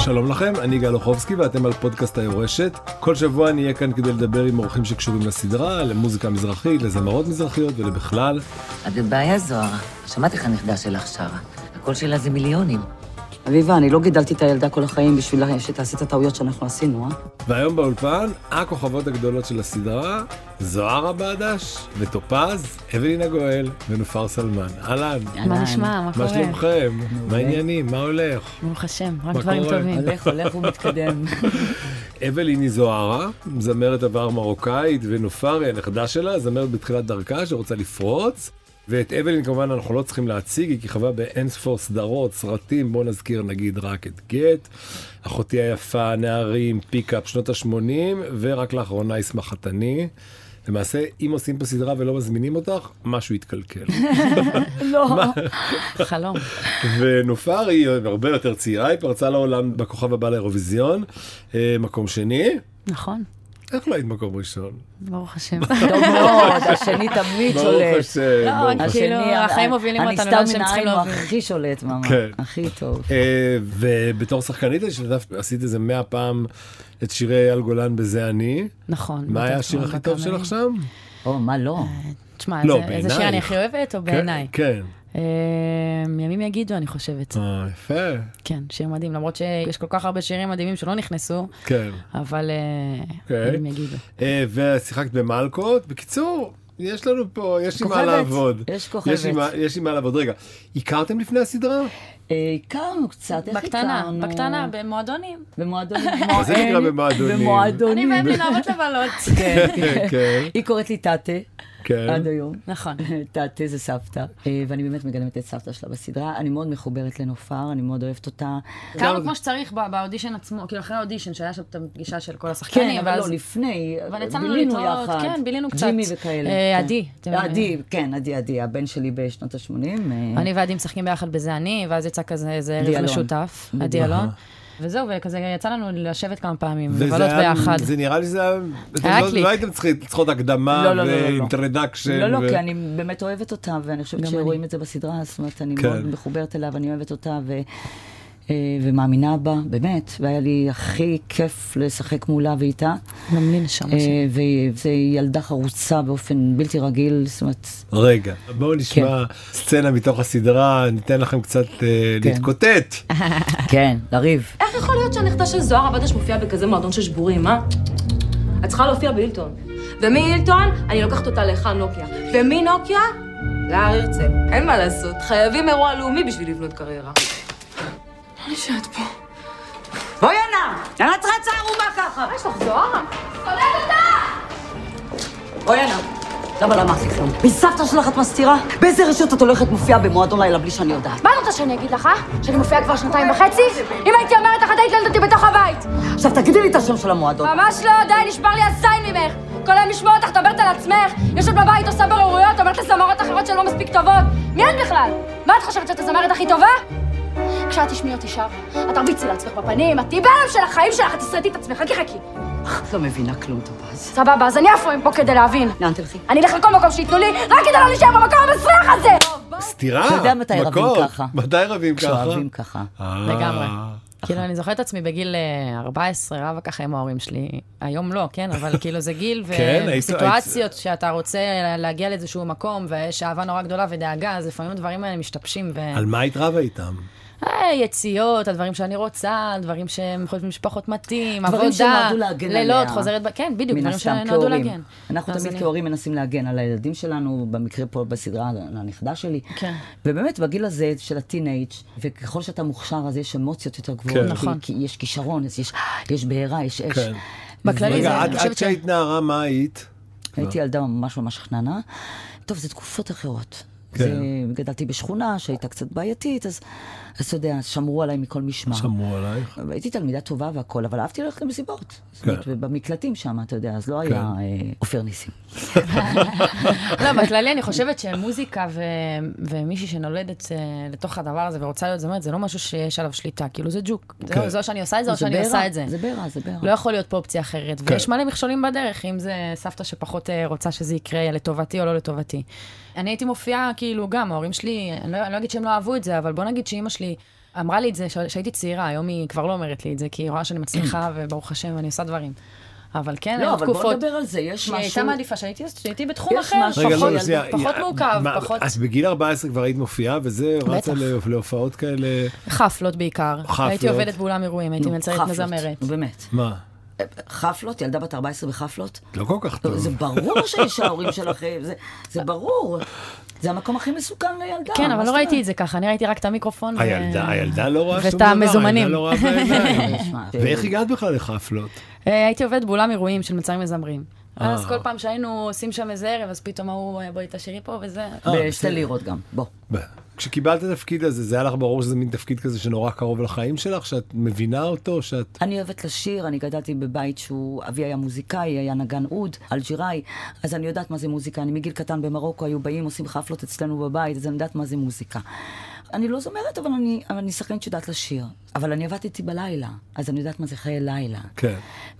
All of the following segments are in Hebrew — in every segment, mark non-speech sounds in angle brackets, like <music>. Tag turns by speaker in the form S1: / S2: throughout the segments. S1: שלום לכם, אני גל אוחובסקי ואתם על פודקאסט היורשת. כל שבוע אני אהיה כאן כדי לדבר עם אורחים שקשורים לסדרה, למוזיקה מזרחית, לזמרות מזרחיות ולבכלל.
S2: הגבאיה זוהרה, שמעתי איך הנכדה שלך שרה. הקול שלה זה מיליונים.
S3: אביבה, אני לא גידלתי את הילדה כל החיים בשביל שתעשי את הטעויות שאנחנו עשינו, אה?
S1: והיום באולפן, הכוכבות הגדולות של הסדרה, זוהרה בדש וטופז, אבלינה גואל ונופר סלמן. אהלן,
S3: אהלן.
S4: מה נשמע? אה, מה
S1: מה
S4: קורה?
S1: שלומכם? מה העניינים? מה הולך?
S4: ברוך השם, רק
S1: מה
S4: דברים
S1: קורה?
S4: טובים.
S3: הולך, הולך
S4: <laughs>
S3: ומתקדם.
S1: אבליני זוהרה, זמרת עבר מרוקאית, ונופר היא הנכדה שלה, זמרת בתחילת דרכה שרוצה לפרוץ. ואת אבלין כמובן אנחנו לא צריכים להציג, היא כיכבה באין ספור סדרות, סרטים, בואו נזכיר נגיד רק את גט, אחותי היפה, נערים, פיקאפ, שנות ה-80, ורק לאחרונה ישמח חתני. למעשה, אם עושים פה סדרה ולא מזמינים אותך, משהו יתקלקל.
S4: לא. חלום.
S1: ונופר היא הרבה יותר צעירה, היא פרצה לעולם בכוכב הבא לאירוויזיון, אה, מקום שני.
S4: נכון,
S1: איך לא היית מקום ראשון? <laughs>
S4: ברוך השם.
S3: טוב מאוד, השני תמיד
S1: ברוך
S3: שולט. לא,
S1: השם. ברוך השם.
S4: כאילו, החיים מובילים אותנו לאן שהם צריכים
S3: אני סתם מן
S4: להוביל.
S3: העין, הוא הכי שולט, ממש.
S1: כן.
S3: הכי טוב.
S1: אה, ובתור שחקנית השתתפת, עשית איזה מאה פעם את שירי אייל גולן בזה אני.
S4: נכון.
S1: מה היה
S4: בתיאטרון
S1: השיר הכי טוב
S4: בקאמרי.
S1: שלך שם?
S3: או, מה לא?
S4: תשמע,
S1: לא,
S4: איזה- איזה שיר אני
S1: בעינייך.
S4: הכי אוהבת, או
S1: כן,
S4: בעיניי?
S1: כן.
S4: אמ, ימים יגידו, אני חושבת.
S1: אה, יפה.
S4: כן, שיר מדהים, למרות שיש כל כך הרבה שירים מדהימים שלא נכנסו,
S1: כן.
S4: אבל אה,
S1: אוקיי.
S4: ימים יגידו.
S1: אה, ושיחקת במלקות. בקיצור, יש לנו פה, יש עם מה
S3: כוכבת.
S1: לעבוד.
S3: יש כוכבת.
S1: עם מה- יש עם מה לעבוד. רגע, הכרתם לפני הסדרה?
S3: אה, הכרנו קצת, איך
S4: בקטנה,
S3: הכרנו?
S4: בקטנה, במועדונים.
S3: במועדונים.
S1: מה <laughs> זה נקרא
S3: אה,
S1: במועדונים?
S3: במועדונים.
S4: אני ואמי אוהבות לבלות.
S3: <laughs> כן.
S1: <laughs> כן,
S3: היא קוראת לי טאטה.
S1: כן.
S3: עד היום.
S4: נכון.
S3: <laughs> תעתה זה סבתא, אה, ואני באמת מגלמת את סבתא שלה בסדרה. אני מאוד מחוברת לנופר, אני מאוד אוהבת אותה.
S4: הכרנו כמו שצריך בא- באודישן עצמו, כאילו אחרי האודישן, שהיה שם את הפגישה של כל השחקנים,
S3: כן, אבל
S4: ואז-
S3: לא, לפני,
S4: אבל יצאנו
S3: בילינו
S4: להתראות,
S3: יחד.
S4: כן, בילינו קצת.
S3: ג'ימי וכאלה.
S4: אה,
S3: כן.
S4: עדי, אתם-
S3: עדי, כן, עדי, עדי, הבן שלי בשנות אה. ה-80.
S1: Mm-hmm.
S4: אני ועדי משחקים ביחד בזה אני, ואז יצא כזה איזה ערב
S3: דיאלון.
S4: משותף, עדי אלון. וזהו, וכזה יצא לנו לשבת כמה פעמים,
S1: וזה
S4: לבלות
S1: היה-
S4: ביחד.
S1: זה נראה לי שזה היה...
S4: היה
S1: לא-
S4: קליק.
S1: לא הייתם צריכים- צריכות הקדמה
S3: לא, לא, לא, לא, לא.
S1: אה, ואינטרדקשן.
S3: לא,
S1: ו-
S3: לא, כי אני באמת אוהבת אותה, ואני חושבת
S4: גם
S3: שרואים את זה בסדרה, זאת אומרת, אני
S1: כן.
S3: מאוד מחוברת אליו, אני אוהבת אותה, ו... אה, ומאמינה בה, באמת, והיה לי הכי כיף לשחק מולה ואיתה.
S4: גם לי נשמה שלי.
S3: אה, וזו ילדה חרוצה באופן בלתי רגיל, זאת אומרת, <laughs>
S1: רגע,
S3: כן.
S1: בואו נשמע סצנה מתוך הסדרה, ניתן לכם קצת אה, להתקוטט.
S3: כן, לריב.
S5: איך יכול להיות שהנכדה של זוהר עבדש מופיעה בכזה מועדון של שבורים, אה? את צריכה להופיע בהילטון. ומהילטון אני לוקחת אותה להיכל נוקיה. ומנוקיה, להר הרצל. אין מה לעשות, חייבים אירוע לאומי בשביל לבנות קריירה. לא נשארת פה.
S3: בואי הנה, למה את צריכה את הערומה ככה?
S5: מה יש לך, זוהרה?
S3: בואי הנה. למה למה עשית כלום? מסבתא שלך את מסתירה? באיזה רשות את הולכת מופיעה במועדון לילה בלי שאני יודעת?
S6: מה את רוצה שאני אגיד לך, אה? שאני מופיעה כבר שנתיים וחצי? אם הייתי אומרת לך, את היית ילדת אותי בתוך הבית!
S3: עכשיו תגידי לי את השם של המועדון.
S6: ממש לא, די, נשבר לי הזין ממך! כל היום לשמוע אותך, מדברת על עצמך, יושבת בבית, עושה בוררויות, אומרת לזמרות אחרות שלא מספיק טובות. מי את בכלל? מה את חושבת, שאת הזמרת הכי טובה? כשאת תשמעי אותי שר, את תרביצי לעצמך בפנים, את תהיי בעלם של החיים שלך, את תסרטי את עצמך, חכי חכי.
S3: את לא מבינה כלום, טופז.
S6: סבבה, אז אני אף פעם פה כדי להבין.
S3: לאן תלכי?
S6: אני אלך לכל מקום שייתנו לי, רק כדי לא להישאר במקום המסריח הזה!
S1: סתירה,
S3: אתה יודע מתי רבים
S1: מכות.
S3: ככה.
S1: מתי רבים ככה?
S3: כשאוהבים ככה.
S1: אה,
S4: לגמרי. כאילו, אני זוכרת את עצמי בגיל אה, 14, רבה ככה עם ההורים שלי. היום לא, כן? אבל כאילו זה גיל
S1: <laughs> כן, היית-
S4: וסיטואציות שאתה רוצה להגיע לאיזשהו מקום, ויש אהבה נורא גדולה ודאגה, אז לפעמים הדברים האלה משתבשים. ו-
S1: על מה התרבה איתם?
S4: אה, יציאות, הדברים שאני רוצה, דברים שהם חושבים שפחות מתאים,
S3: דברים
S4: עבודה,
S3: שנועדו להגן עליה.
S4: לילות, חוזרת, ב- כן, בדיוק,
S3: מן
S4: דברים
S3: הסתם
S4: שנועדו להגן.
S3: כהורים. אנחנו
S4: אז
S3: תמיד
S4: אני-
S3: כהורים מנסים להגן על הילדים שלנו, במקרה פה בסדרה, על הנכדה שלי.
S4: כן.
S3: ובאמת, בגיל הזה של הטינאייג', וככל שאתה מוכשר, אז יש אמוציות יותר גבוהות.
S1: כן.
S3: כי-
S4: נכון.
S3: כי יש כישרון, אז יש- יש בעירה, יש אש.
S1: כן.
S4: בכללי
S1: רגע,
S4: זה,
S1: עד
S4: אני
S1: עד
S4: חושבת ש...
S1: שהיית נערה, מה היית?
S3: הייתי ילדה ממש ממש חננה. טוב, זה תקופות אחרות.
S1: כן.
S3: זה, גדלתי בשכונה שהייתה קצת בעייתית, אז, אז אתה יודע, שמרו עליי מכל משמר.
S1: שמרו עלייך.
S3: הייתי תלמידה טובה והכול, אבל אהבתי ללכת למסיבות.
S1: כן.
S3: כן. במקלטים שם, אתה יודע, אז לא היה אה, עופר ניסים.
S4: לא, בכללי אני חושבת שמוזיקה ו... ומישהי שנולדת אה, לתוך הדבר הזה ורוצה להיות זמרת, זה לא משהו שיש עליו שליטה, כאילו זה ג'וק. זה
S1: כן.
S4: או- זה או שאני עושה את זה או
S3: זה
S4: לא, שאני
S3: בעירה,
S4: עושה את זה.
S3: זה בעירה, זה בעירה.
S4: לא יכול להיות פה אופציה אחרת,
S1: כן.
S4: ויש מלא מכשולים בדרך, אם זה סבתא שפחות אה, רוצה שזה יקרה לטובתי או לא לטובתי. אני הייתי מופיעה, כאילו, גם, ההורים שלי, אני לא, אני לא אגיד שהם לא אהבו את זה, אבל בוא נגיד שאימא שלי אמרה לי את זה כשהייתי צעירה, היום היא כבר לא אומרת לי את זה, כי היא רואה שאני
S1: <clears throat>
S4: מצליחה, וברוך השם, אני עושה דברים. אבל כן,
S3: לא,
S4: היו
S3: אבל בוא
S4: תקופות
S3: נדבר על זה, יש
S4: שהיא הייתה
S3: משהו...
S4: מעדיפה שהייתי שהייתי בתחום
S3: יש
S4: אחר,
S3: משהו
S4: פחות-
S3: רגע, לא,
S1: שנייה,
S4: פחות
S1: אה,
S4: מעוכב,
S1: מה,
S4: פחות...
S1: אז בגיל 14 כבר היית מופיעה, וזה רצה
S4: בטח.
S1: לה- להופעות כאלה,
S4: חפלות בעיקר.
S1: חפלות.
S4: הייתי עובדת באולם אירועים, הייתי מלצרית
S3: חפלות,
S4: מזמרת.
S3: באמת.
S1: מה?
S3: חפלות, ילדה בת 14 בחפלות?
S1: לא כל כך טוב.
S3: זה ברור שיש ההורים שלך, זה, זה ברור. זה המקום הכי מסוכן לילדה.
S4: כן,
S3: מה
S4: אבל לא
S3: זאת
S4: ראיתי
S3: אומרת?
S4: את זה ככה, אני ראיתי רק את המיקרופון. ו-
S1: הילדה, הילדה לא רואה שום
S4: ואת
S1: דבר,
S4: המזומנים.
S1: הילדה לא רואה בעיניים.
S3: <laughs> תשמע,
S1: ואיך הגעת בכלל לחפלות?
S4: <laughs> אה, הייתי עובדת באולם אירועים של מצרים מזמרים.
S1: אה.
S4: אז כל פעם שהיינו עושים שם איזה ערב, אז פתאום ההוא, אה, בואי תשאירי פה וזה.
S1: אה,
S3: בשתי לירות גם, בוא.
S1: ב- כשקיבלת את התפקיד הזה, זה היה לך ברור שזה מין תפקיד כזה שנורא קרוב לחיים שלך, שאת מבינה אותו, שאת...
S3: אני אוהבת לשיר, אני גדלתי בבית שהוא, אבי היה מוזיקאי, היה נגן אוד, אלג'יראי, אז אני יודעת מה זה מוזיקה. אני מגיל קטן במרוקו, היו באים, עושים חפלות אצלנו בבית, אז אני יודעת מה זה מוזיקה. אני לא זמרת, אבל אני, אבל אני שחקנית שיודעת לשיר. אבל אני עבדתי בלילה, אז אני יודעת מה זה חיי לילה.
S1: כן.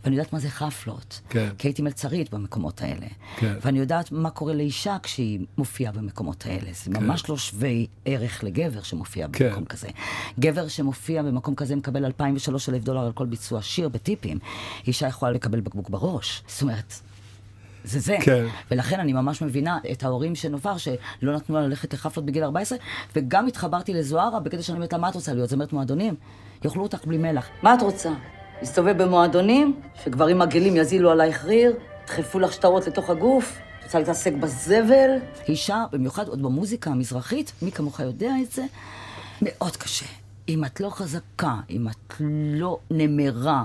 S3: ואני יודעת מה זה חפלות.
S1: כן.
S3: כי הייתי מלצרית במקומות האלה.
S1: כן.
S3: ואני יודעת מה קורה לאישה כשהיא מופיעה במקומות האלה. זה ממש לא שווה ערך לגבר שמופיע
S1: כן.
S3: במקום כזה. גבר שמופיע במקום כזה מקבל 2,003 דולר על כל ביצוע שיר בטיפים. אישה יכולה לקבל בקבוק בראש. זאת אומרת... זה זה.
S1: כן.
S3: ולכן אני ממש מבינה את ההורים של נופר, שלא נתנו לה ללכת לחפלות בגיל 14, וגם התחברתי לזוהרה בקטע שאני אומרת לה, מה את רוצה להיות? זמרת מועדונים? יאכלו אותך בלי מלח. מה את רוצה? להסתובב במועדונים? שגברים מגעילים יזילו עלייך ריר? ידחפו לך שטרות לתוך הגוף? את רוצה להתעסק בזבל? אישה, במיוחד עוד במוזיקה המזרחית, מי כמוך יודע את זה, מאוד קשה. אם את לא חזקה, אם את לא נמרה,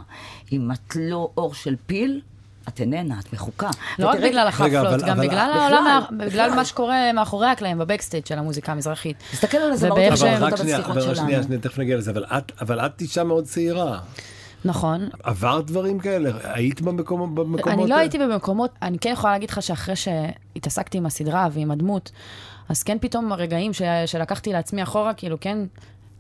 S3: אם את לא אור של פיל, את איננה, את מחוקה.
S4: לא רק
S3: ותראה-
S4: בגלל
S1: רגע,
S4: החפלות,
S1: אבל-
S4: גם
S1: אבל-
S4: בגלל
S3: בכלל,
S4: העולם, ה-
S3: בכלל.
S4: בגלל מה שקורה מאחורי הקלעים, בבקסטייג' של המוזיקה המזרחית.
S3: תסתכל על הזמרות
S4: ובאיך
S3: עכשיו,
S4: שהם-
S3: אותה
S1: רק שנייה,
S3: בצליחות
S1: אבל שנייה,
S3: שלנו.
S1: שנייה, תכף נגיע לזה, אבל את- אבל את אישה מאוד צעירה.
S4: נכון.
S1: עברת דברים כאלה? היית במקום- במקומות...
S4: אני לא הייתי במקומות, אני כן יכולה להגיד לך שאחרי שהתעסקתי עם הסדרה ועם הדמות, אז כן פתאום הרגעים ש... שלקחתי לעצמי אחורה, כאילו כן,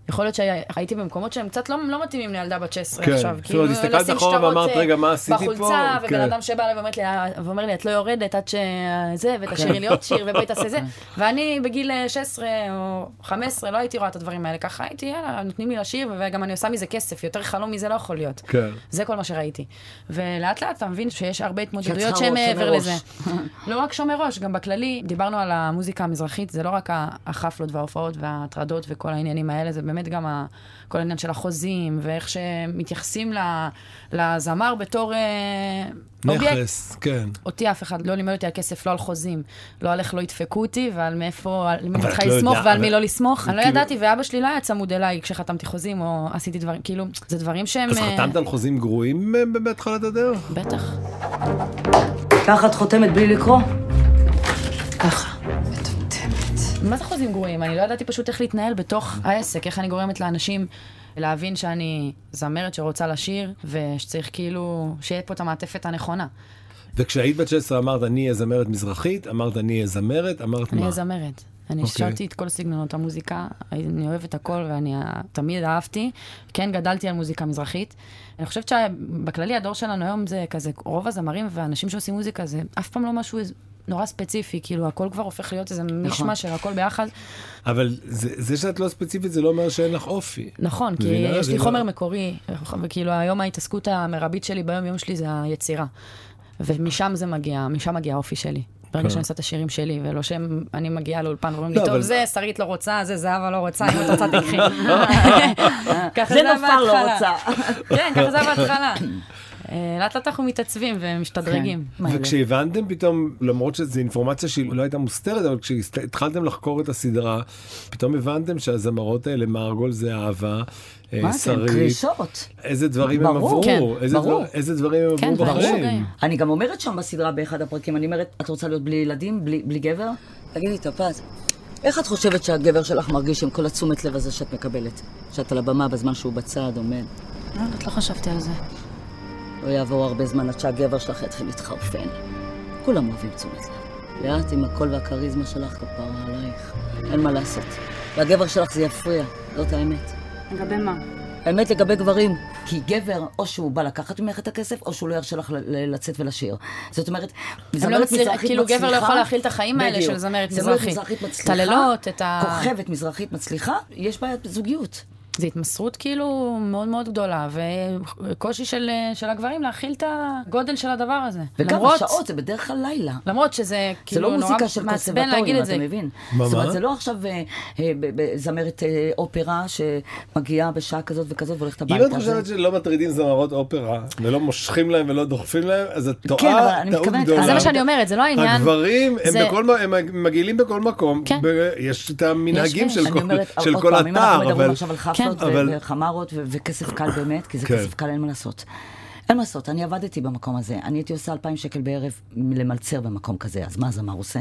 S4: יכול להיות שהייתי במקומות שהם קצת לא, לא מתאימים לילדה בת 16
S1: כן.
S4: עכשיו. כאילו,
S1: זאת אומרת, הסתכלת
S4: לשים
S1: אחורה
S4: שטרות,
S1: ואמרת,
S4: אה,
S1: "רגע, מה עשיתי פה?"
S4: בחולצה, ובן
S1: כן.
S4: אדם שבא אליי ואומר לי, "אה", ואומר לי, את לא יורדת עד שזה,
S1: כן.
S4: ותשאירי לי עוד שיר, ובואי תעשה זה.
S1: אוקיי.
S4: ואני בגיל אה, 16 או 15 לא הייתי רואה את הדברים האלה. ככה הייתי, יאללה, נותנים לי לשיר, וגם אני עושה מזה כסף, יותר חלום מזה לא יכול להיות.
S1: כן.
S4: זה כל מה שראיתי. ולאט לאט אתה מבין שיש הרבה
S3: שאת
S4: התמודדויות
S3: צריכה
S4: שהן
S3: ראש,
S4: מעבר
S3: שומר
S4: לזה. <laughs> לא רק שומר ראש, גם בכללי, דיברנו על המוזיקה המזרחית, זה לא רק ה- החפלות וההופעות וההטרדות וכל העניינים האלה, זה באמת גם ה- כל העניין של החוזים, ואיך שמתייחסים ל- לזמר בתור אה, אובייקט.
S1: נכס, כן.
S4: אותי אף אחד לא לימד אותי על כסף, לא על חוזים, לא על איך לא ידפקו אותי ועל מאיפה, על מי
S1: אבל
S4: אני
S1: את
S4: צריכה
S1: לא
S4: לסמוך
S1: יודעת,
S4: ועל
S1: אבל-
S4: מי לא לסמוך. אני לא
S1: כאילו-
S4: ידעתי, ואבא שלי לא היה צמוד אליי כשחתמתי חוזים או עשיתי דברים, כאילו, זה דברים שהם...
S1: אז
S4: אה,
S1: חתמת על חוזים גרועים אה, בהתחלת הדרך?
S4: בטח.
S3: ככה את חותמת בלי לקרוא?
S4: מה זה חוזים גרועים? אני לא ידעתי פשוט איך להתנהל בתוך העסק, איך אני גורמת לאנשים להבין שאני זמרת שרוצה לשיר, ושצריך כאילו, שיהיה פה את המעטפת הנכונה.
S1: וכשהיית בת 16 אמרת, אני אהיה זמרת מזרחית, אמרת, אני אהיה זמרת, אמרת
S4: אני
S1: מה?
S4: אהיה זמרת. אני
S1: אוקיי.
S4: שרתי את כל סגנונות המוזיקה, אני אוהבת הכל ואני אה, תמיד אהבתי. כן, גדלתי על מוזיקה מזרחית. אני חושבת שבכללי הדור שלנו היום זה כזה, רוב הזמרים והאנשים שעושים מוזיקה זה אף פעם לא משהו איזה- נורא ספציפי, כאילו הכל כבר הופך להיות איזה
S1: נכון.
S4: מישמש של הכל ביחד.
S1: אבל זה זה שאת לא ספציפית, זה לא אומר שאין לך אופי.
S4: נכון, כי
S1: מבינה?
S4: יש
S1: זה
S4: לי
S1: לא-
S4: חומר מקורי, וכאילו היום ההתעסקות המרבית שלי ביום יום שלי זה היצירה. ומשם זה מגיע, משם מגיע האופי שלי. ברגע שאני עושה את השירים שלי, ולא שאני מגיעה לאולפן ואומרים לי,
S1: כן. לא, אבל-
S4: טוב, זה שרית לא רוצה, זה זהבה לא רוצה, אם את רוצה
S1: <laughs>
S4: תקחי. ככה
S3: זה
S4: היה
S3: נופר לא
S4: בהתחלה.
S3: רוצה.
S4: כן, ככה זה היה בהתחלה. אה, לאט לאט אנחנו מתעצבים ומשתדרגים.
S1: וכשהבנתם פתאום, למרות שזו אינפורמציה שהיא לא הייתה מוסתרת, אבל כשהתחלתם לחקור את הסדרה, פתאום הבנתם שהזמרות האלה, מרגול זהבה, אה,
S3: מה אתם,
S1: שרית,
S3: קרישות?
S1: איזה דברים הם
S3: ברור,
S1: עברו,
S4: כן,
S1: איזה דבר-
S3: ברור.
S1: איזה דברים הם
S4: כן,
S1: עברו
S4: ברור.
S1: בחיים.
S3: אני גם אומרת שם בסדרה באחד הפרקים, אני אומרת, את רוצה להיות בלי ילדים, בלי, בלי גבר? תגידי, טפז, איך את חושבת שהגבר שלך מרגיש עם כל התשומת לב הזה שאת מקבלת? שאת על הבמה בזמן שהוא בצד עומד?
S4: את לא חשבתי על זה.
S3: לא יעבור הרבה זמן עד שהגבר שלך יתחיל להתחרפן. כולם אוהבים תשומת לב. ואת עם הקול והכריזמה שלך כפרה עלייך. אין מה לעשות. לגבר שלך זה יפריע, זאת האמת.
S6: לגבי מה?
S3: האמת לגבי גברים, כי גבר, או שהוא בא לקחת ממך את הכסף, או שהוא לא ירשה לך ל- ל- לצאת ולשיר. זאת אומרת,
S4: הם
S3: זמרת
S4: לא מצליח,
S3: מזרחית
S4: כאילו גבר לא
S3: מצליחה-
S4: יכול להכיל את החיים האלה
S3: בדיוק.
S4: של זמרת
S3: זמרת
S4: מזרחית.
S3: מזרחית מצליחה,
S4: את הלילות, את ה...
S3: כוכבת מזרחית מצליחה, יש בעיית זוגיות.
S4: זה התמסרות כאילו מאוד מאוד גדולה, וקושי של, אה, של הגברים להכיל את הגודל של הדבר הזה.
S3: וגם
S4: למרות-
S3: השעות זה בדרך כלל לילה.
S4: למרות שזה
S3: זה
S4: כאילו
S3: לא
S4: נורא
S3: מוזיקה של
S4: מעצבן להגיד
S3: קונסרבטוריום,
S4: את זה.
S3: אתה מבין?
S1: מה,
S3: זאת אומרת,
S1: מה?
S3: זה לא עכשיו אה, אה, ב- ב- זמרת אה, אופרה שמגיעה בשעה כזאת וכזאת והולכת
S1: אם
S3: הביתה.
S1: את חושבת שלא מטרידים זמרות אופרה, ולא מושכים להם ולא דוחפים להם, אז את
S3: כן, אבל
S1: טועה
S3: אני
S1: טעות
S3: מתכוונת-
S1: גדולה.
S4: אז זה מה שאני אומרת, זה לא העניין.
S1: הגברים, הם
S4: זה-
S1: בכל מ- הם מגעילים בכל מקום,
S4: כן.
S1: ב- יש את המנהגים
S4: יש,
S1: של
S4: אני
S1: כל-
S3: אני אומרת,
S1: של
S3: עוד
S1: כל
S3: פעם, אם אנחנו
S1: אתר,
S3: מדברים
S1: אבל
S3: עכשיו על חפלות
S4: כן.
S3: ו-
S1: אבל-
S3: וחמרות ו- וכסף קל באמת, כי זה
S1: כן.
S3: כסף קל, אין מה לעשות. אין מה לעשות, אני עבדתי במקום הזה. אני הייתי עושה 2,000 שקל בערב למלצר במקום כזה, אז מה הזמר עושה?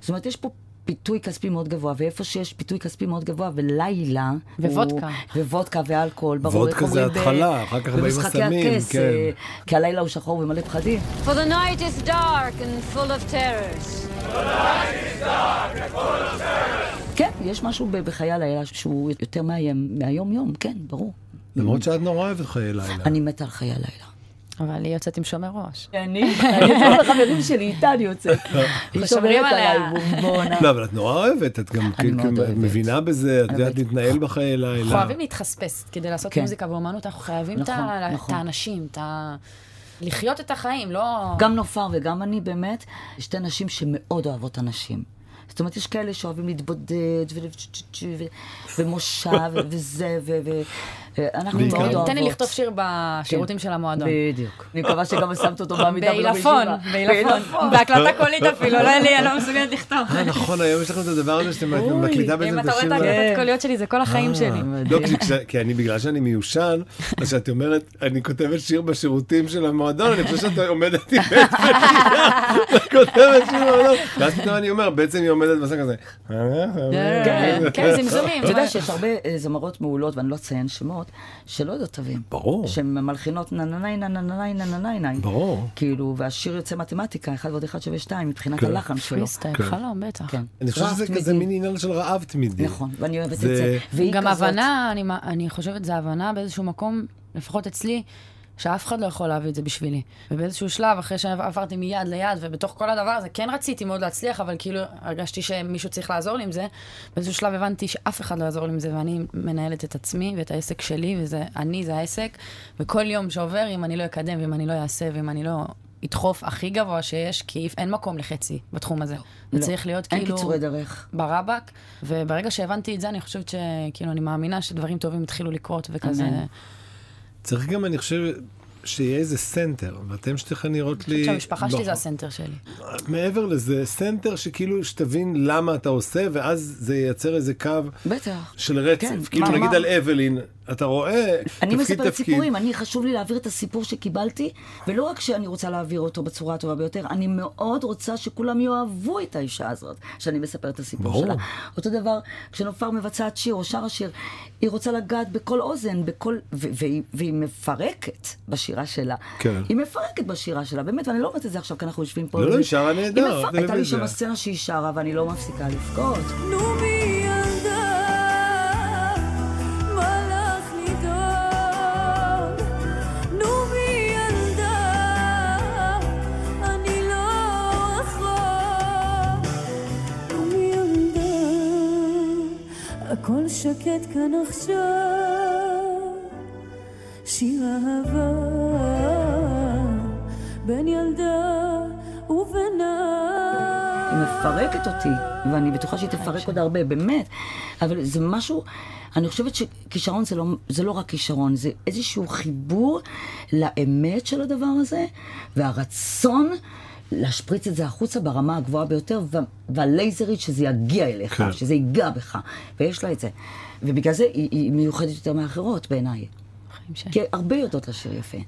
S3: זאת אומרת, יש פה... פיתוי כספי מאוד גבוה, ואיפה שיש פיתוי כספי מאוד גבוה, ולילה... הוא-
S4: וודקה.
S3: ווודקה ואלכוהול, ברור. איך
S1: וודקה זה
S3: אומרים ב-
S1: התחלה, אחר כך באים
S3: במשחקי
S1: הסמים,
S3: הכס,
S1: כן.
S3: אה, כי הלילה הוא שחור ומלא פחדים.
S7: For the night is dark and full of terrors.
S3: כן, יש משהו ב- בחיי הלילה שהוא יותר מאיים מהיום-יום, כן, ברור.
S1: למרות שאת נורא אוהבת חיי לילה.
S3: אני מתה על חיי הלילה.
S4: אבל היא יוצאת עם שומר ראש.
S3: אני, <laughs> אני כל החברים שלי, איתה אני
S1: <laughs>
S3: יוצאת. היא שומרת
S4: שומרים
S3: עליי
S4: עליה.
S3: בומבונה.
S1: לא, אבל את נורא אוהבת, את גם כאילו
S3: מאוד אוהבת.
S1: מבינה בזה, את יודעת
S3: אוהבת.
S1: להתנהל בחיי
S4: אנחנו
S1: לילה.
S4: חייבים להתחספס כדי לעשות
S3: כן.
S4: מוזיקה ואומנות, אנחנו חייבים את
S3: נכון,
S4: ה- את
S3: נכון.
S4: האנשים, את ה... לחיות את החיים, לא...
S3: גם נופר וגם אני באמת, שתי נשים שמאוד אוהבות אנשים. זאת אומרת, יש כאלה שאוהבים להתבודד, ו- ו- ומושב, ו- וזה, ו- ו... אנחנו
S1: בעיקר.
S3: מאוד
S1: תן לי
S3: אוהבות.
S4: תן לי לכתוב שיר בשירותים של המועדון.
S3: בדיוק. אני מקווה שגם שמת אותו בעמידה ולא
S4: בעילפון,
S3: בישיבה.
S4: בעילפון, בהקלטה קולית אפילו, לא לי, אני לא מסוגלת לכתוב.
S1: אה, נכון, היום יש לכם את הדבר הזה שאתם את מקליטה בעצם
S4: אם
S1: את
S4: אתה רואה
S1: השיר.
S4: את ההקלטות קוליות שלי, זה כל
S3: אה,
S4: החיים שלי.
S1: לא, כי כש- כי אני, בגלל שאני מיושן, אז כשאת אומרת, אני כותבת שיר בשירותים של המועדון, אני חושב שאת עומדת עם עץ בנייר, וכותבת שיר במועדון, ואז פתאום אני אומר, בעצם היא עומדת בסך כזה.
S4: כן, כן, זמזומים.
S3: אתה יודע שיש הרבה אה, זמרות מעולות, ואני לא אציין שמות, שלא יודעות תווים.
S1: ברור.
S3: שהן מלחינות נה נה נה נה נה נה נה נה נה נה.
S1: ברור.
S3: כאילו, והשיר יוצא מתמטיקה, אחד ועוד אחד שווה שתיים, מבחינת
S1: כן.
S3: הלחן שלו.
S4: פריסטייל,
S1: כן.
S4: חלום, בטח.
S3: כן.
S1: אני חושב שזה
S3: רהב
S1: כזה
S3: תמידי.
S1: מין עניין של רעב תמידי.
S3: נכון, ואני אוהבת את
S1: זה-
S3: זה. והיא
S4: גם
S3: כזאת.
S4: הבנה, אני, מא- אני חושבת, זה הבנה באיזשהו מקום, לפחות אצלי, שאף אחד לא יכול להביא את זה בשבילי. ובאיזשהו שלב, אחרי שעברתי מיד ליד, ובתוך כל הדבר הזה, כן רציתי מאוד להצליח, אבל כאילו הרגשתי שמישהו צריך לעזור לי עם זה. באיזשהו שלב הבנתי שאף אחד לא יעזור לי עם זה, ואני מנהלת את עצמי ואת העסק שלי, וזה, אני זה העסק, וכל יום שעובר, אם אני לא אקדם, ואם אני לא אעשה, ואם אני לא... אדחוף הכי גבוה שיש, כי אין מקום לחצי בתחום הזה. זה צריך להיות
S3: לא, אין
S4: כאילו...
S3: קיצורי דרך.
S4: ברבק, וברגע שהבנתי את זה, אני חושבת שכאילו, אני מאמינה שדברים טובים התחילו לקרות, וכזה...
S3: אמן.
S1: צריך גם, אני חושב, שיהיה איזה סנטר, ואתם שתיכן נראות לי...
S4: אני חושבת שהמשפחה שלי
S1: לא.
S4: זה הסנטר שלי.
S1: מעבר לזה, סנטר שכאילו שתבין למה אתה עושה, ואז זה ייצר איזה קו
S3: בטח.
S1: של רצף.
S3: כן,
S1: כאילו,
S3: מה-
S1: נגיד
S3: מה?
S1: על אבלין, אתה רואה,
S3: אני
S1: תפקיד,
S3: מספרת
S1: תפקיד.
S3: סיפורים, אני חשוב לי להעביר את הסיפור שקיבלתי, ולא רק שאני רוצה להעביר אותו בצורה הטובה ביותר, אני מאוד רוצה שכולם יאהבו את האישה הזאת, שאני מספרת את הסיפור
S1: ברור.
S3: שלה. אותו דבר, כשנופר מבצעת שיר או שרה שיר, היא רוצה לגעת בכל אוזן, בכל... ו- והיא, והיא מפרקת בשירה שלה.
S1: כן.
S3: היא מפרקת בשירה שלה, באמת, ואני לא אומרת את זה עכשיו, כי אנחנו יושבים פה...
S1: לא, לא,
S3: וזה-
S1: היא שרה נהדר,
S3: היא מפרקת. הייתה לי
S1: טלוויזיה.
S3: שם סצנה שהיא שרה, ואני לא מפסיקה לבכות.
S7: הכל שקט כאן עכשיו, שיר אהבה בין ילדה ובנה.
S3: היא מפרקת אותי, ואני בטוחה שהיא תפרק עוד הרבה, באמת. אבל זה משהו, אני חושבת שכישרון זה לא, זה לא רק כישרון, זה איזשהו חיבור לאמת של הדבר הזה, והרצון להשפריץ את זה החוצה ברמה הגבוהה ביותר, וה- והלייזרית שזה יגיע אליך,
S1: כן.
S3: שזה ייגע בך, ויש לה את זה. ובגלל זה היא, היא מיוחדת יותר מאחרות בעיניי,
S4: חיים שלי. כן.
S3: כי הרבה יודעות לשיר יפה.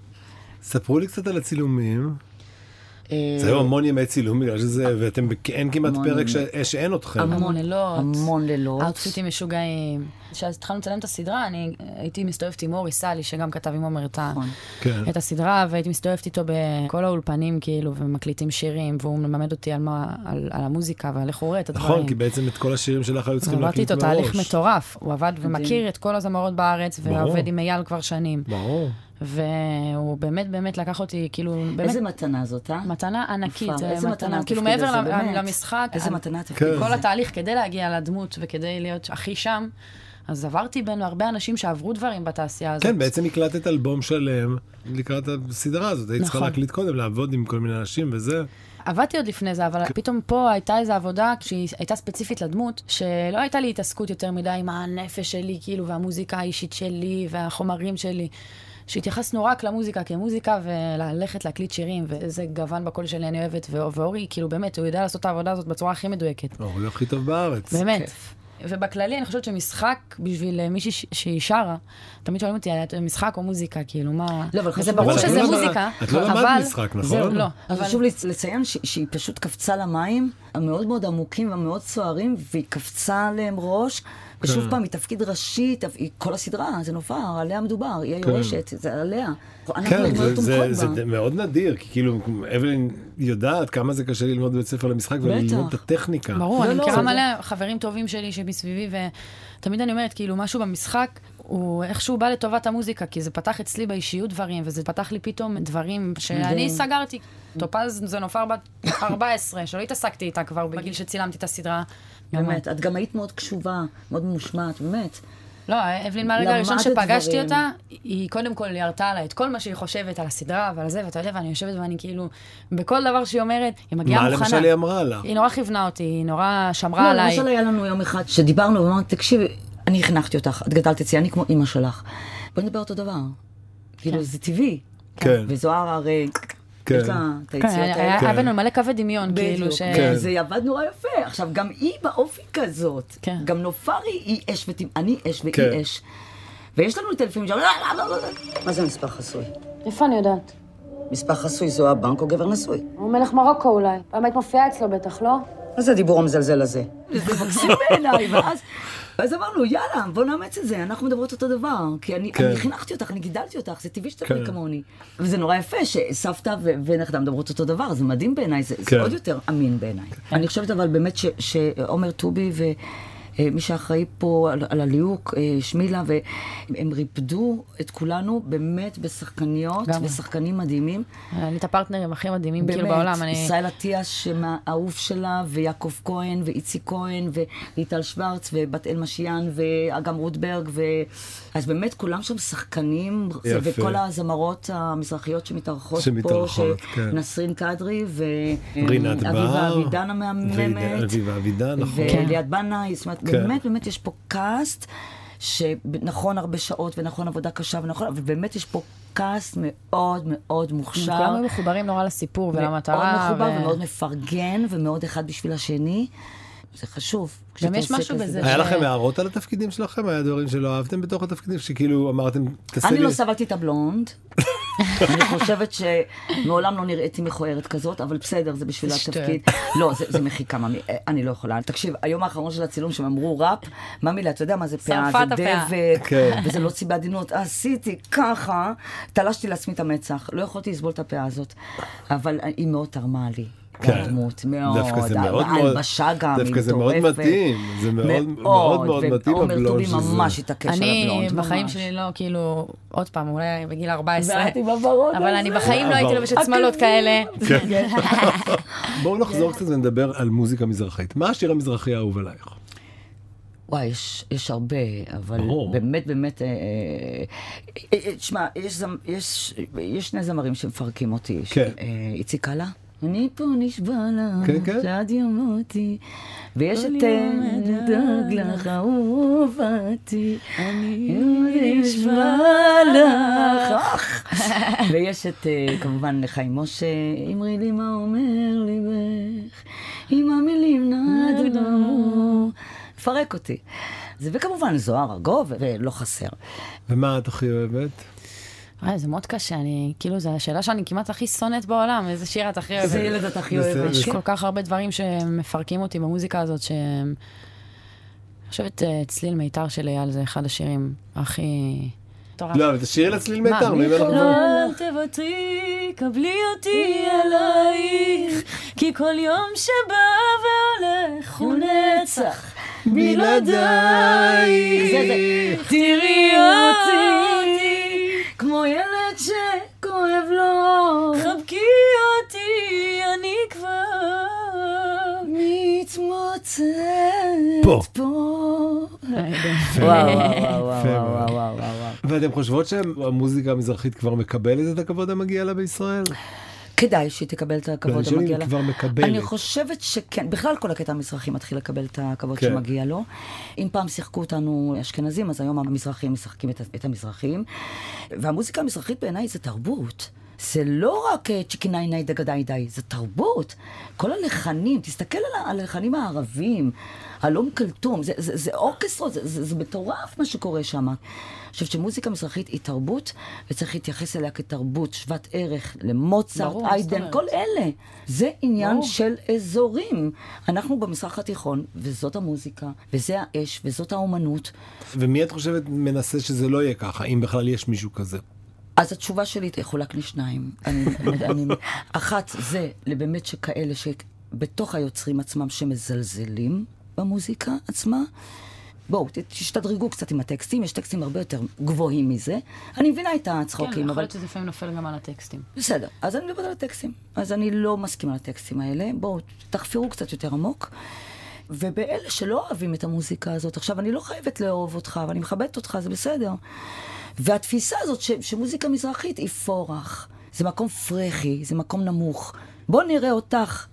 S1: ספרו לי קצת על הצילומים. זה היו המון ימי צילום בגלל שזה, ואתם, בכ- אין כמעט
S3: המון
S1: פרק
S3: ימי.
S1: ש- שאין אתכם.
S4: המון לילות.
S3: המון לילות.
S4: אאוטפיטים משוגעים. כשהתחלנו לצלם את הסדרה, אני הייתי מסתובבת עם אורי סאלי, שגם כתב עם עומר את, ה...
S3: נכון.
S1: כן.
S4: את הסדרה, והייתי מסתובבת איתו בכל האולפנים, כאילו, ומקליטים שירים, והוא מלמד אותי על, מה, על, על המוזיקה ועל איך הוא רואה את הדברים.
S1: נכון, כי בעצם את כל השירים שלך היו צריכים
S4: עברתי
S1: להקליט
S4: איתו
S1: מראש.
S4: תהליך מטורף, הוא עבד ומכיר את כל הזמרות בארץ,
S1: ברור.
S4: ועובד עם אייל כבר שנים.
S1: ברור.
S4: והוא באמת באמת לקח אותי, כאילו, באמת
S3: איזה מתנה זאת, אה?
S4: מתנה ענקית,
S3: יפה,
S4: אה,
S3: איזה מתנה
S4: כאילו
S3: התפקיד
S4: מעבר
S3: הזה,
S4: למ-
S3: באמת.
S4: למשחק,
S3: איזה
S4: על-
S3: מתנה התפקיד
S1: כן.
S4: כל
S3: הזה.
S4: התהליך כדי להגיע לדמות וכדי להיות הכי שם. אז עברתי בין הרבה אנשים שעברו דברים בתעשייה הזאת.
S1: כן, בעצם הקלטת אלבום שלם לקראת הסדרה הזאת. היית צריכה
S4: נכון.
S1: להקליט קודם, לעבוד עם כל מיני אנשים וזה.
S4: עבדתי עוד לפני זה, אבל
S1: כן.
S4: פתאום פה הייתה איזו עבודה שהיא הייתה ספציפית לדמות, שלא הייתה לי התעסקות יותר מדי עם הנפש שלי, כאילו, והמוזיקה האישית שלי, והחומרים שלי. שהתייחסנו רק למוזיקה כמוזיקה, וללכת להקליט שירים, ואיזה גוון בקול שלי אני אוהבת, ו- ואורי, כאילו, באמת, הוא יודע לעשות את העבודה הזאת בצורה הכי מדויקת.
S1: ההורים הכי טוב בארץ.
S4: באמת. ובכללי, אני חושבת שמשחק בשביל אה, מישהי ש- שהיא שרה, תמיד שואלים אותי, "את משחק או מוזיקה? כאילו, מה...
S3: לא, אבל
S4: וזה
S3: חשוב-
S4: ברור
S3: אבל את לא
S4: שזה
S1: למדת-
S4: מוזיקה,
S1: את לא למדת
S4: אבל-
S1: משחק, נכון?
S4: זהו, לא.
S3: אבל חשוב לצ- לציין ש- שהיא פשוט קפצה למים המאוד מאוד עמוקים והמאוד סוערים, והיא קפצה עליהם ראש,
S1: כן.
S3: ושוב פעם, היא תפקיד ראשי, תפ- היא כל הסדרה, זה נופר, עליה מדובר, היא היורשת, זה עליה. אנחנו
S1: כן,
S3: מאוד
S1: זה, זה, זה
S3: תומכות בה.
S1: ד- מאוד נדיר, כי כאילו, אבלין יודעת כמה זה קשה ללמוד בבית ספר למשחק וללמוד את הטכניקה.
S4: ברור, אני
S3: לא,
S4: מכירה
S3: זה-
S4: מלא חברים טובים שלי שמסביבי, ותמיד אני אומרת, כאילו, משהו במשחק, הוא איכשהו בא לטובת המוזיקה, כי זה פתח אצלי באישיות דברים, וזה פתח לי פתאום דברים שאני סגרתי. טופז זה נופר בת 14, שלא התעסקתי איתה כבר בגיל שצילמתי את הסדרה.
S3: באמת, את גם היית מאוד קשובה, מאוד ממושמעת, באמת.
S4: לא, אבלין, מהרגע הראשון
S3: למדת
S4: שפגשתי
S3: דברים.
S4: אותה, היא קודם כל ירתה עליי את כל מה שהיא חושבת על הסדרה ועל זה, ואתה יודע, ואני יושבת ואני כאילו, בכל דבר שהיא אומרת, היא מגיעה
S1: מה
S4: מוכנה.
S1: למשל היא אמרה לך?
S4: היא נורא כיוונה אותי, היא נורא שמרה
S3: לא,
S4: עליי.
S3: למשל היה לנו יום אחד שדיברנו ואמרת, תקשיבי, אני חינכתי אותך, את גדלת אצלי, אני כמו אימא שלך. בואי נדבר אותו דבר. כאילו, זה טבעי.
S1: כן.
S3: וזוהר הרי,
S1: כן.
S3: יש לה את היציאות
S4: כן, היה
S3: האלה.
S4: היה בינינו מלא קווי דמיון, כאילו,
S3: אוקיי. בדיוק, אוקיי.
S4: ש...
S1: כן.
S3: זה עבד נורא יפה. עכשיו, גם היא באופי כזאת.
S4: כן.
S3: גם נופרי היא אש ותימ... אני אש
S1: כן.
S3: והיא אש. ויש לנו את אלפים שם, לא, מה זה מספר חסוי?
S8: איפה אני יודעת?
S3: מספר חסוי זו הבנק או גבר נשוי.
S8: הוא מלך מרוקו אולי. פעם היית מופיעה אצלו בטח, לא?
S3: מה זה הדיבור המזלזל הזה? זה מקסים בעיניי, ואז... ואז אמרנו, יאללה, בוא נאמץ את זה, אנחנו מדברות אותו דבר. כי אני,
S1: כן.
S3: אני חינכתי אותך, אני גידלתי אותך, זה טבעי שתדברי
S1: כן.
S3: כמוני. וזה נורא יפה שסבתא ו- ונכדה מדברות אותו דבר, זה מדהים בעיניי, זה,
S1: כן.
S3: זה עוד יותר אמין בעיניי. אני חושבת אבל באמת ש- שעומר טובי ו... אה, מי שאחראי פה על, על הליהוק, אה, שמילה, והם ריפדו את כולנו באמת בשחקניות
S4: לגמרי.
S3: ושחקנים מדהימים.
S4: היה לי את הפרטנרים הכי מדהימים,
S3: באמת,
S4: כאילו, בעולם. אני...
S3: ישראל אטיאס, האהוב שלה, ויעקב כהן, ואיציק כהן, וליטל שוורץ, ובת אל משיאן, ואגם רוטברג, ו... אז באמת כולם שם שחקנים,
S1: יפה.
S3: וכל הזמרות המזרחיות שמתארחות פה,
S1: שמתארחות, כן.
S3: נסרין קדרי, ו...
S1: רינת בר.
S3: אביבה אבידן
S1: ועיד-
S3: המהממת.
S1: אביבה אבידן, נכון.
S3: וליאת בנאי, זאת אומרת,
S1: כן.
S3: באמת, באמת יש פה קאסט, שנכון הרבה שעות, ונכון עבודה קשה, ונכון, אבל באמת יש פה קאסט מאוד מאוד מוכשר.
S4: כולם היו מחוברים נורא לסיפור ולמטרה.
S3: מאוד מחובר
S4: ו-
S3: ומאוד מפרגן ומאוד אחד בשביל השני. זה חשוב.
S4: גם
S3: כשאתה
S4: יש
S3: עושה
S4: משהו
S3: כזה
S4: בזה
S3: דבר.
S1: היה
S4: ש-
S1: לכם הערות על התפקידים שלכם? היה דברים שלא אהבתם בתוך התפקידים? שכאילו אמרתם, תעשה לי...
S3: אני לא סבלתי
S1: <laughs>
S3: את הבלונד. אני חושבת שמעולם לא נראיתי מכוערת כזאת, אבל בסדר, זה בשביל
S4: שטויות.
S3: התפקיד. לא, זה, זה מחיקה, ממי, אה, אני לא יכולה. תקשיב, היום האחרון של הצילום שהם אמרו ראפ, ממי, אתה יודע מה זה פאה,
S4: שרפה
S3: זה
S4: את הפאה.
S3: דבק,
S1: כן.
S3: וזה לא ציבי עדינות. עשיתי ככה, תלשתי לעצמי את המצח, לא יכולתי לסבול את הפאה הזאת, אבל היא מאוד תרמה לי.
S1: כן.
S3: הדמות, מאוד,
S1: דווקא זה מאוד מאוד,
S3: ההלבשה גם, היא
S1: דווקא זה מאוד
S3: מטורפת.
S1: מתאים, זה מאוד מאוד מאוד מתאים
S3: ועומר
S1: הבלונד
S3: טובי
S1: של זה.
S3: ממש התעקש על הבלונד,
S4: אני בחיים
S3: ממש.
S4: שלי לא, כאילו, עוד פעם, אולי בגיל 14.
S3: ואת עם הוורוד
S4: אבל
S3: הזה.
S4: אני בחיים לא הייתי
S1: אבל-
S4: לובשת שמלות כאלה.
S1: <laughs> בואו נחזור קצת ונדבר על מוזיקה מזרחית. מה השיר המזרחי האהוב עלייך?
S3: וואי, יש, יש הרבה, אבל
S1: ברור.
S3: ברור. באמת, באמת, אה, אה, אה, אה, תשמע, יש, זמ, יש, יש שני זמרים שמפרקים אותי. ש-
S1: כן.
S3: אה, איציק הלאה. אני פה נשבע לך,
S1: כן, כן.
S3: שעד ימותי, ויש את אה, דאג לך אהובתי, אני נשבע לך, אך. ויש את אה, כמובן חיים משה, אמרי לי מה אומר ליבך, אם המילים נעדו דמו, פרק אותי. זה וכמובן זוהר ארגוב, ולא חסר.
S1: ומה את הכי אוהבת?
S4: וואי, זה מאוד קשה, אני, כאילו, זו השאלה שאני כמעט הכי שונאת בעולם, איזה שיר את הכי אוהבת.
S3: איזה ילד את הכי
S1: בסדר.
S3: אוהבת.
S4: יש כל כך הרבה דברים שמפרקים אותי במוזיקה הזאת, שהם... אני חושבת, אה, צליל מיתר של אייל זה אחד השירים הכי... מטורף.
S1: לא, אבל תשאירי לצליל לא מיתר,
S4: מי
S1: אם אנחנו
S3: לא,
S1: כבר-
S4: אל תוותרי, קבלי אותי אלייך, כי כל יום שבא והולך הוא נצח.
S1: בלעדיי.
S3: זה, זה. תראי אותי, כמו ילד שכואב לו,
S4: חבקי אותי, אני כבר...
S3: מתמוצאת
S1: פה.
S3: פה. וואו, וואו, וואו,
S1: יפה
S3: וואו,
S1: מאוד.
S3: וואו, וואו, וואו.
S1: ואתם חושבות שהמוזיקה המזרחית כבר מקבלת את הכבוד המגיע לה בישראל?
S3: כדאי שהיא תקבל את הכבוד
S1: ואני שואל אם
S3: המגיע
S1: היא
S3: לה.
S1: כבר מקבלת.
S3: אני חושבת שכן. בכלל כל הקטע המזרחי מתחיל לקבל את הכבוד
S1: כן.
S3: שמגיע לו. אם פעם שיחקו אותנו אשכנזים, אז היום המזרחים משחקים את, ה- את המזרחים. והמוזיקה המזרחית בעיניי זה תרבות. זה לא רק אה, צ'יקיניי ניי דגדאי די, זה תרבות. כל הלחנים, תסתכל על ה- על הלחנים הערבים, הלום כלתום, זה, זה, זה אורקסטרות, זה, זה, זה מטורף מה שקורה שם. אני חושבת שמוזיקה מזרחית היא תרבות, וצריך להתייחס אליה כתרבות שוות ערך למוצרט,
S4: ברור, מה זאת
S3: איידן,
S4: אומרת?
S3: כל אלה. זה עניין ברור. של אזורים. אנחנו במזרח התיכון, וזאת המוזיקה, וזה האש, וזאת האומנות.
S1: ומי את חושבת מנסה שזה לא יהיה ככה, אם בכלל יש מישהו כזה?
S3: אז התשובה שלי תחולק לשניים. אני, אני, אחת, זה באמת שכאלה שבתוך היוצרים עצמם שמזלזלים במוזיקה עצמה. בואו, ת- תשתדרגו קצת עם הטקסטים, יש טקסטים הרבה יותר גבוהים מזה. אני מבינה את
S4: כן,
S3: הצחוקים,
S4: יכול
S3: אוקיי, אבל...
S4: להיות שזה לפעמים נופל גם על הטקסטים.
S3: בסדר, אז אני מדברת על הטקסטים. אז אני לא מסכימה לטקסטים האלה. בואו, תחפרו קצת יותר עמוק. ובאלה שלא אוהבים את המוזיקה הזאת, עכשיו, אני לא חייבת לאהוב אותך, אבל אני מכבדת אותך, זה בסדר. והתפיסה הזאת ש, שמוזיקה מזרחית היא פורח. זה מקום פרחי, זה מקום נמוך. בואו נראה אותך,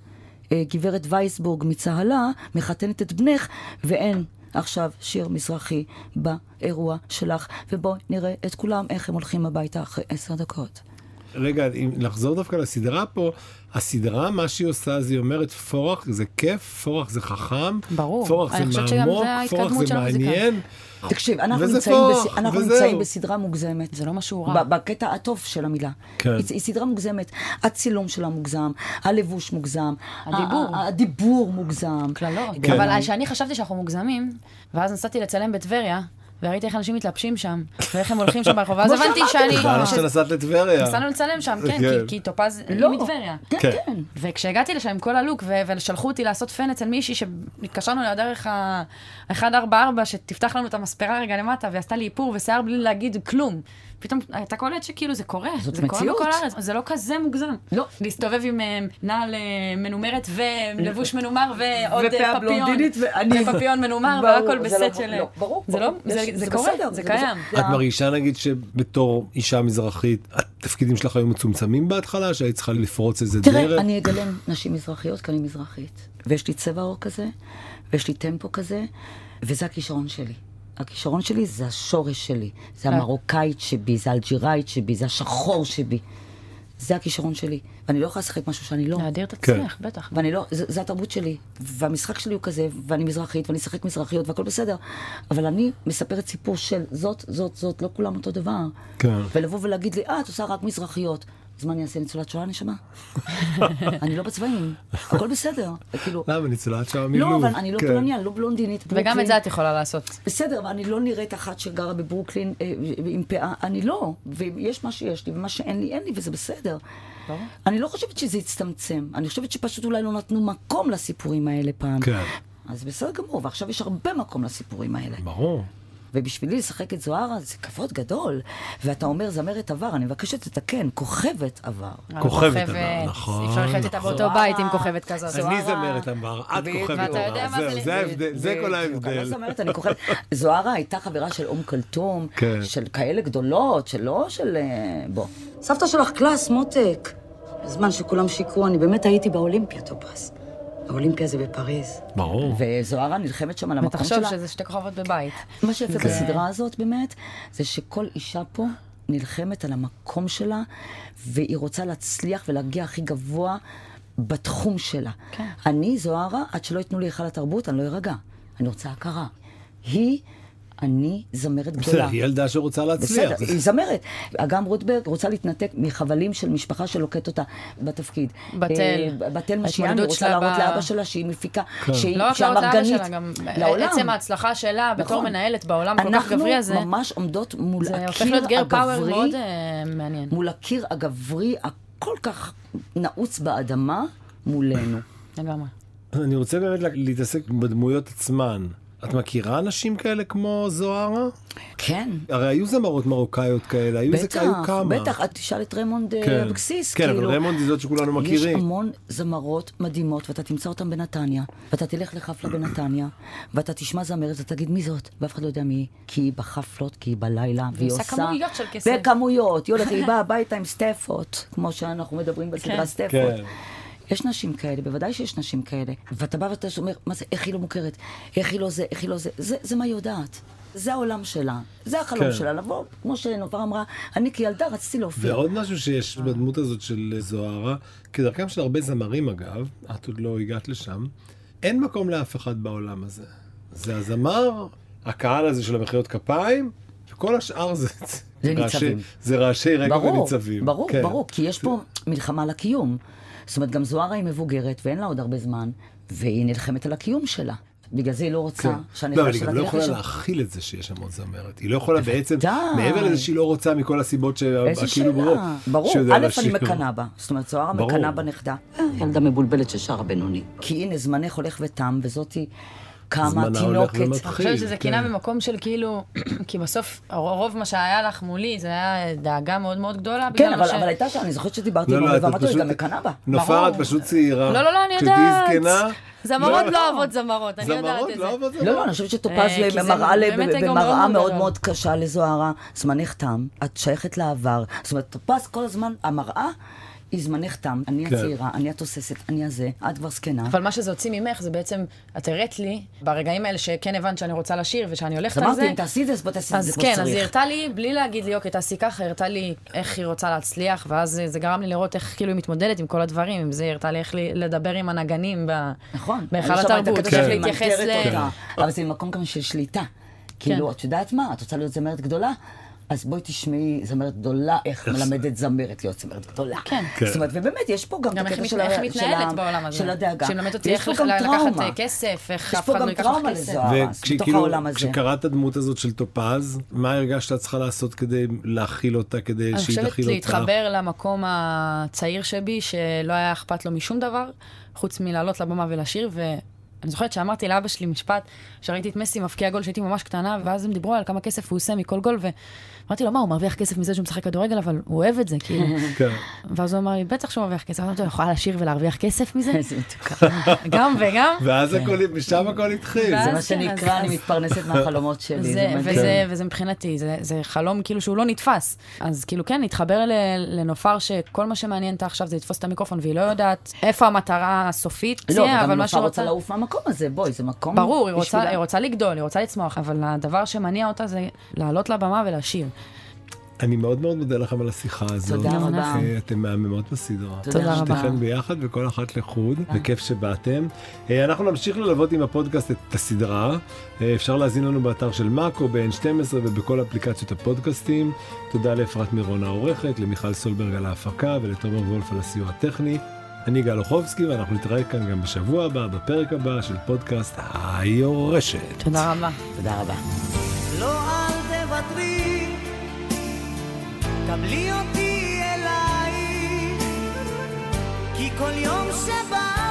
S3: אה, גברת וייסבורג מצהלה, מחתנת את בנך, ואין עכשיו שיר מזרחי באירוע שלך. ובואו נראה את כולם, איך הם הולכים הביתה אחרי עשר דקות.
S1: רגע, אם לחזור דווקא לסדרה פה, הסדרה, מה שהיא עושה, זה היא אומרת, פורח זה כיף, פורח זה חכם,
S4: ברור.
S1: פורח
S4: אני
S1: זה
S4: חושבת שגם
S1: מעמוק,
S4: זה ההתקדמות
S1: פורח זה
S4: של המוזיקה.
S1: מעניין.
S3: תקשיב, אנחנו,
S1: וזה
S3: נמצאים,
S1: פורח,
S3: בס... אנחנו
S1: וזהו.
S3: נמצאים בסדרה מוגזמת.
S4: זה לא משהו רע.
S3: ב- בקטע הטוב של המילה.
S1: כן.
S3: היא, היא סדרה מוגזמת. הצילום שלה מוגזם, הלבוש מוגזם,
S4: הדיבור.
S3: ה- ה- הדיבור מוגזם.
S4: קללות.
S1: כן.
S4: לא, אבל כשאני חשבתי שאנחנו מוגזמים, ואז נסעתי לצלם בטבריה, וראיתי איך אנשים מתלבשים שם, ואיך הם הולכים שם ברחוב, ואז
S3: כמו
S4: הבנתי
S3: שאמרתי
S4: שאני...
S3: לך.
S1: למה
S4: ש-
S1: שנסעת לטבריה?
S4: נכון. נסענו לצלם שם,
S1: כן.
S4: כן, כי- כי טופז היא
S3: לא.
S4: מטבריה.
S3: כן,
S1: כן.
S3: כן. כן.
S4: וכשהגעתי לשם עם כל הלוק, ו- ושלחו אותי לעשות פן אצל מישהי שהתקשרנו אליה דרך ה-144, שתפתח לנו את המספרה רגע למטה, והיא עשתה לי איפור ושיער בלי להגיד כלום. פתאום אתה קולט שכאילו זה קורה,
S3: זאת
S4: זה קורה
S3: מציאות.
S4: בכל הארץ, זה לא כזה מוגזם.
S3: לא.
S4: להסתובב עם אה, נעל אה, מנומרת ולבוש מנומר ועוד אה,
S3: ופאה
S4: פפיון.
S3: בלונדינית ואני-
S4: ופפיון מנומר
S3: ברור,
S4: והכל
S3: זה לא-
S4: בסט של...
S3: לא, ברור,
S4: זה לא,
S3: ברור.
S4: זה-
S3: יש-
S4: זה
S3: זה
S4: קורה,
S3: בסדר,
S4: זה
S3: זה
S4: קיים.
S3: בסדר.
S1: את מרגישה נגיד שבתור אישה מזרחית התפקידים שלך היו מצומצמים בהתחלה שהיית צריכה לפרוץ איזה דרך?
S3: תראה, אני אגלם נשים מזרחיות כי אני מזרחית. ויש לי צבע עור כזה, ויש לי טמפו כזה, וזה הכישרון שלי. הכישרון שלי זה השורש שלי, זה
S4: כן.
S3: המרוקאית שבי, זה האלג'יראית שבי, זה השחור שבי. זה הכישרון שלי. ואני לא יכולה לשחק משהו שאני לא.
S4: להאדיר את
S1: כן.
S4: עצמך, בטח.
S3: ואני לא, זה, זה התרבות שלי, והמשחק שלי הוא כזה, ואני מזרחית, ואני אשחק מזרחיות, והכל בסדר. אבל אני מספרת סיפור של זאת, זאת, זאת, לא כולם אותו דבר.
S1: כן.
S3: ולבוא ולהגיד לי, אה, את עושה רק מזרחיות. אז מה אני אעשה, ניצולת
S1: <laughs>
S3: שואה נשמה? אני לא בצבעים, הכל בסדר. כאילו,
S1: למה ניצולת שם מלוב?
S3: לא, אבל אני לא
S1: כן.
S3: פולניה, לא בלונדינית,
S4: וגם את
S3: ברוקלין.
S4: זה את יכולה לעשות.
S3: בסדר, אבל אני לא נראית אחת שגרה בברוקלין אה, עם פאה, אני לא. ויש מה שיש לי, ומה שאין לי, אין לי, וזה בסדר. אני לא חושבת שזה הצטמצם, אני חושבת שפשוט אולי לא נתנו מקום לסיפורים האלה פעם.
S1: כן.
S3: אז בסדר גמור, ועכשיו יש הרבה מקום לסיפורים האלה.
S1: ברור.
S3: ובשבילי לשחק את זוהרה זה כבוד גדול. ואתה אומר, זמרת עבר, אני מבקשת לתקן, כוכבת עבר.
S1: כוכבת עבר, נכון,
S4: אפשר לחיות איתה באותו בית עם כוכבת כזאת.
S1: אני זמרת אמר, את כוכבת
S4: ואתה יודע
S1: אמר,
S4: מה זה
S1: זהו,
S4: ל-
S1: זה ההבדל, זה כל
S3: בדיוק, אני לא
S1: ההבדל.
S3: זמרת, אני כוכבת. זוהרה הייתה חברה של אום כלתום,
S1: כן.
S3: של כאלה גדולות, שלא של... אה, בוא. סבתא שלך קלאס, מותק. בזמן שכולם שיקרו, אני באמת הייתי באולימפיה, טופס. האולימפיה זה בפריז.
S1: ברור.
S3: וזוהרה נלחמת שם על המקום
S4: ותחשוב
S3: שלה.
S4: שזה שתי כוכבות בבית.
S3: מה שיפה
S1: כן.
S3: בסדרה הזאת באמת, זה שכל אישה פה נלחמת על המקום שלה, והיא רוצה להצליח ולהגיע הכי גבוה בתחום שלה. כן. אני, זוהרה, עד שלא ייתנו לי היכל התרבות, אני לא ארגע. אני רוצה הכרה. היא, אני זמרת
S1: בסדר,
S3: גדולה.
S1: היא ילדה שרוצה להצליח.
S3: בסדר, היא זמרת. אגם רוטברג רוצה להתנתק מחבלים של משפחה שלוקט אותה בתפקיד.
S4: בתל.
S3: אה, בתל משיאן, היא
S4: ההתמודדות
S3: רוצה
S4: שלה
S3: להראות
S4: ב-
S3: לאבא שלה שהיא מפיקה,
S1: כן.
S3: שהיא
S4: לא רק לאותה אבא
S3: שהמרגנית.
S4: שלה, גם אה,
S3: לעולם.
S4: עצם ההצלחה שלה בתור
S3: נכון.
S4: מנהלת בעולם כל כך גברי הזה,
S3: אנחנו ממש עומדות מול
S4: זה הופך
S3: הקיר
S4: להיות גר פאוור
S3: הגברי,
S4: מאוד אה, מעניין.
S3: מול הקיר הגברי הכל כך נעוץ באדמה מולנו.
S4: <laughs> לגמרי.
S1: אני רוצה באמת לה- להתעסק בדמויות עצמן. את מכירה נשים כאלה כמו זוהרה?
S3: כן.
S1: הרי היו זמרות מרוקאיות כאלה, היו, זה,
S3: בטח,
S1: היו כמה.
S3: בטח, את תשאל את ריימונד אה,
S1: כן.
S3: אבקסיס,
S1: כן,
S3: כאילו.
S1: אבל רמונד היא זאת שכולנו
S3: יש
S1: מכירים.
S3: המון זמרות מדהימות, ואתה תמצא אותן בנתניה, ואתה תלך לחפלה בנתניה, ואתה תשמע זמרת ותגיד מי זאת, ואף אחד לא יודע מי היא, כי היא בחפלות, כי היא בלילה, והיא
S4: עושה
S3: עושה...
S4: כמויות של כסף.
S3: בכמויות, היא הולכת,
S4: <laughs>
S3: היא באה הביתה עם סטפות, כמו שאנחנו מדברים בסדרה סטפות.
S1: כן.
S3: יש נשים כאלה, בוודאי שיש נשים כאלה. ואתה בא ואתה אומר, מה זה, איך היא לא מוכרת? איך היא לא זה, איך היא לא זה? זה, זה מה היא יודעת. זה העולם שלה, זה החלום
S1: כן.
S3: שלה, לבוא, כמו שנובר אמרה, אני כילדה רציתי להופיע.
S1: ועוד משהו שיש בדמות הזאת של זוהרה, כדרכם של הרבה זמרים אגב, את עוד לא הגעת לשם, אין מקום לאף אחד בעולם הזה. זה הזמר, הקהל הזה של המחיאות כפיים, וכל השאר זה...
S3: זה
S1: רעשי-
S3: ניצבים.
S1: זה רעשי רקע
S3: ברור,
S1: וניצבים.
S3: ברור,
S1: כן.
S3: כן. ברור, כי יש פה מלחמה על הקיום. זאת אומרת, גם זוהרה היא מבוגרת ואין לה עוד הרבה זמן, והיא נלחמת על הקיום שלה. בגלל זה היא לא רוצה
S1: כן.
S3: שהנכדה
S1: לא, אבל היא
S3: שלה
S1: גם לא
S3: תלך
S1: יכולה
S3: לשם.
S1: להכיל את זה שיש שם עוד זמרת. היא לא יכולה בעצם,
S3: בוודאי.
S1: מעבר לזה שהיא לא רוצה מכל הסיבות כאילו
S3: איזה שאלה.
S1: שכאילו ברורות.
S3: ברור,
S1: שיודע
S3: א', אני
S1: לשיר.
S3: מקנאה בה. זאת אומרת, זוהרה
S1: ברור.
S3: מקנאה בנכדה.
S2: ילדה מבולבלת ששרה בינוני.
S3: כי הנה, זמנך הולך ותם, וזאתי קמה,
S1: זמנה הולך
S3: תינוקת.
S1: ומתחיל.
S4: אני חושבת
S1: כן.
S4: שזה קינה במקום של כאילו, <clears throat> כי בסוף הרוב מה שהיה לך מולי זה היה דאגה מאוד מאוד גדולה.
S3: כן,
S4: בגלל
S3: אבל,
S4: ש-
S3: אבל הייתה שם, אני זוכרת שדיברתי
S1: לא,
S3: עם
S1: לא,
S3: אורלי
S1: את- את
S3: ואמרתי כאילו, לו, היא
S1: פשוט...
S3: גם מקנאה בה.
S1: נופר, את
S4: ברור.
S1: פשוט צעירה.
S4: לא, לא, לא, אני יודעת.
S1: כשתהיי זקנה...
S7: זמרות לא אוהבות זמרות, אני יודעת
S1: זמרות
S7: את
S1: לא
S7: זה.
S1: אוהבות זמרות.
S3: לא, לא, אני חושבת
S4: אה,
S3: שטופז
S4: כי זה
S3: במראה ל-
S4: באמת גאון
S3: במראה
S4: מאוד
S3: מאוד
S4: גדול.
S3: מאוד קשה לזוהרה. זמנך תם, את שייכת לעבר. זאת אומרת, טופז כל הזמן, המראה היא זמנך תם. אני
S1: כן.
S3: הצעירה, אני התוססת, אני הזה, את כבר זקנה.
S4: אבל מה שזה הוציא ממך זה בעצם, את הראת לי, ברגעים האלה שכן הבנת שאני רוצה לשיר ושאני
S3: אז
S4: הולכת על
S3: אמרתי,
S4: זה.
S3: אם תעשי את זה, אז בוא תעשי את זה לא
S4: אז
S3: כמו
S4: כן, אז היא
S3: שצריך.
S4: הראתה לי, בלי להגיד לי, אוקיי, תעשי ככה, הראתה לי איך היא רוצה להצליח, ואז זה- זה גרם לי לראות איך כאילו היא מתמודדת עם כל הדברים, עם זה היא הראתה לי איך לי- לדבר עם הנגנים ב-
S3: נכון.
S4: בהיכל
S3: אני לא שמעת
S4: התרבות,
S3: כתוב
S4: איך
S3: שהיא
S4: להתייחס
S3: מנטרת
S4: ל...
S3: אותה. אבל זה ממקום גם של שליטה. כאילו,
S4: כן.
S3: את יודעת מה, את רוצה להיות זמרת גדולה? אז בואי תשמעי זמרת גדולה, איך מלמדת זמרת להיות זמרת גדולה. כן. זאת אומרת, ובאמת, יש פה גם את
S4: גם איך
S3: הקטע
S4: מת-
S3: של ה-
S4: איך
S3: של ה-
S4: מתנהלת בעולם הזה.
S3: של הדאגה.
S4: שהיא מלמדת אותי
S3: ויש
S4: איך
S3: פה
S4: לח-
S3: גם
S4: לקחת
S3: טראומה.
S4: אה, כסף, איך
S3: יש
S4: אף
S3: פה
S4: אחד
S3: גם
S4: לא ייקח
S3: טראומה
S4: לך כסף.
S3: לזוהר. אה, אז בתוך העולם הזה.
S1: כשקראת את הדמות הזאת של טופז, מה הרגשת שאת צריכה לעשות כדי להכיל אותה, כדי
S4: אני
S1: שהיא
S4: חושבת
S1: תכיל אותך?
S4: להתחבר למקום הצעיר שבי, שלא היה אכפת לו משום דבר, חוץ מלעלות לבמה ולשיר, ואני זוכרת שאמרתי לאבא שלי משפט, שראיתי את מסי מפקיע גול כשהייתי ממש קטנה, ואז הם דיברו על כמה כסף הוא עושה מכל גול, ואמרתי לו, מה, הוא מרוויח כסף מזה שהוא משחק כדורגל, אבל הוא אוהב את זה, כאילו.
S3: <laughs>
S1: כן.
S4: ואז הוא אמר לי, בטח שהוא מרוויח כסף, אמרתי לו, "אני יכולה לשיר ולהרוויח כסף מזה?
S3: איזה מתוקה.
S4: <laughs> גם
S3: <laughs>
S4: וגם.
S3: כן.
S1: ואז הכל, משם הכל התחיל.
S4: ואז-
S3: זה מה
S4: כן, אז-
S3: שנקרא,
S4: אז-
S3: אני מתפרנסת מהחלומות שלי.
S4: זה,
S3: מדהים.
S4: וזה, וזה מבחינתי, זה, זה חלום כאילו שהוא לא נתפס. אז כאילו כן, להתחבר ל, לנופר שכל מה שמעניין אותה עכשיו זה לתפוס את המיקרופון, והיא לא יודעת איפה המטרה הסופית
S3: לא,
S4: תהיה, אבל
S3: וגם
S4: מה
S3: נופר
S4: שהיא
S3: רוצה
S4: רוצה...
S3: לעוף מהמקום הזה, בואי, זה מקום
S4: ברור, היא רוצה,
S3: בשבילה.
S4: היא רוצה לגדול, היא רוצה לצמוח, אבל הדבר שמניע אותה זה לעלות לבמה
S3: <laughs>
S4: ולשיר.
S1: אני מאוד מאוד מודה לכם על השיחה הזאת.
S3: תודה
S4: גם
S3: רבה.
S1: אה, אתם מהממות בסדרה.
S4: תודה רבה.
S1: שתיכן ביחד וכל אחת לחוד, וכיף שבאתם. אה, אנחנו נמשיך ללוות עם הפודקאסט את הסדרה. אה, אפשר להזין לנו באתר של מאקו, ב-N12 ובכל אפליקציות הפודקאסטים. תודה לאפרת מירון העורכת, למיכל סולברג על ההפקה ולתומר וולף על הסיוע הטכני. אני גל אוחובסקי, ואנחנו נתראה כאן גם בשבוע הבא, בפרק הבא של פודקאסט היורשת.
S4: תודה רבה.
S3: תודה רבה.
S9: לא אל תוותרי, קבלי אותי אלייך, כי כל יום שבא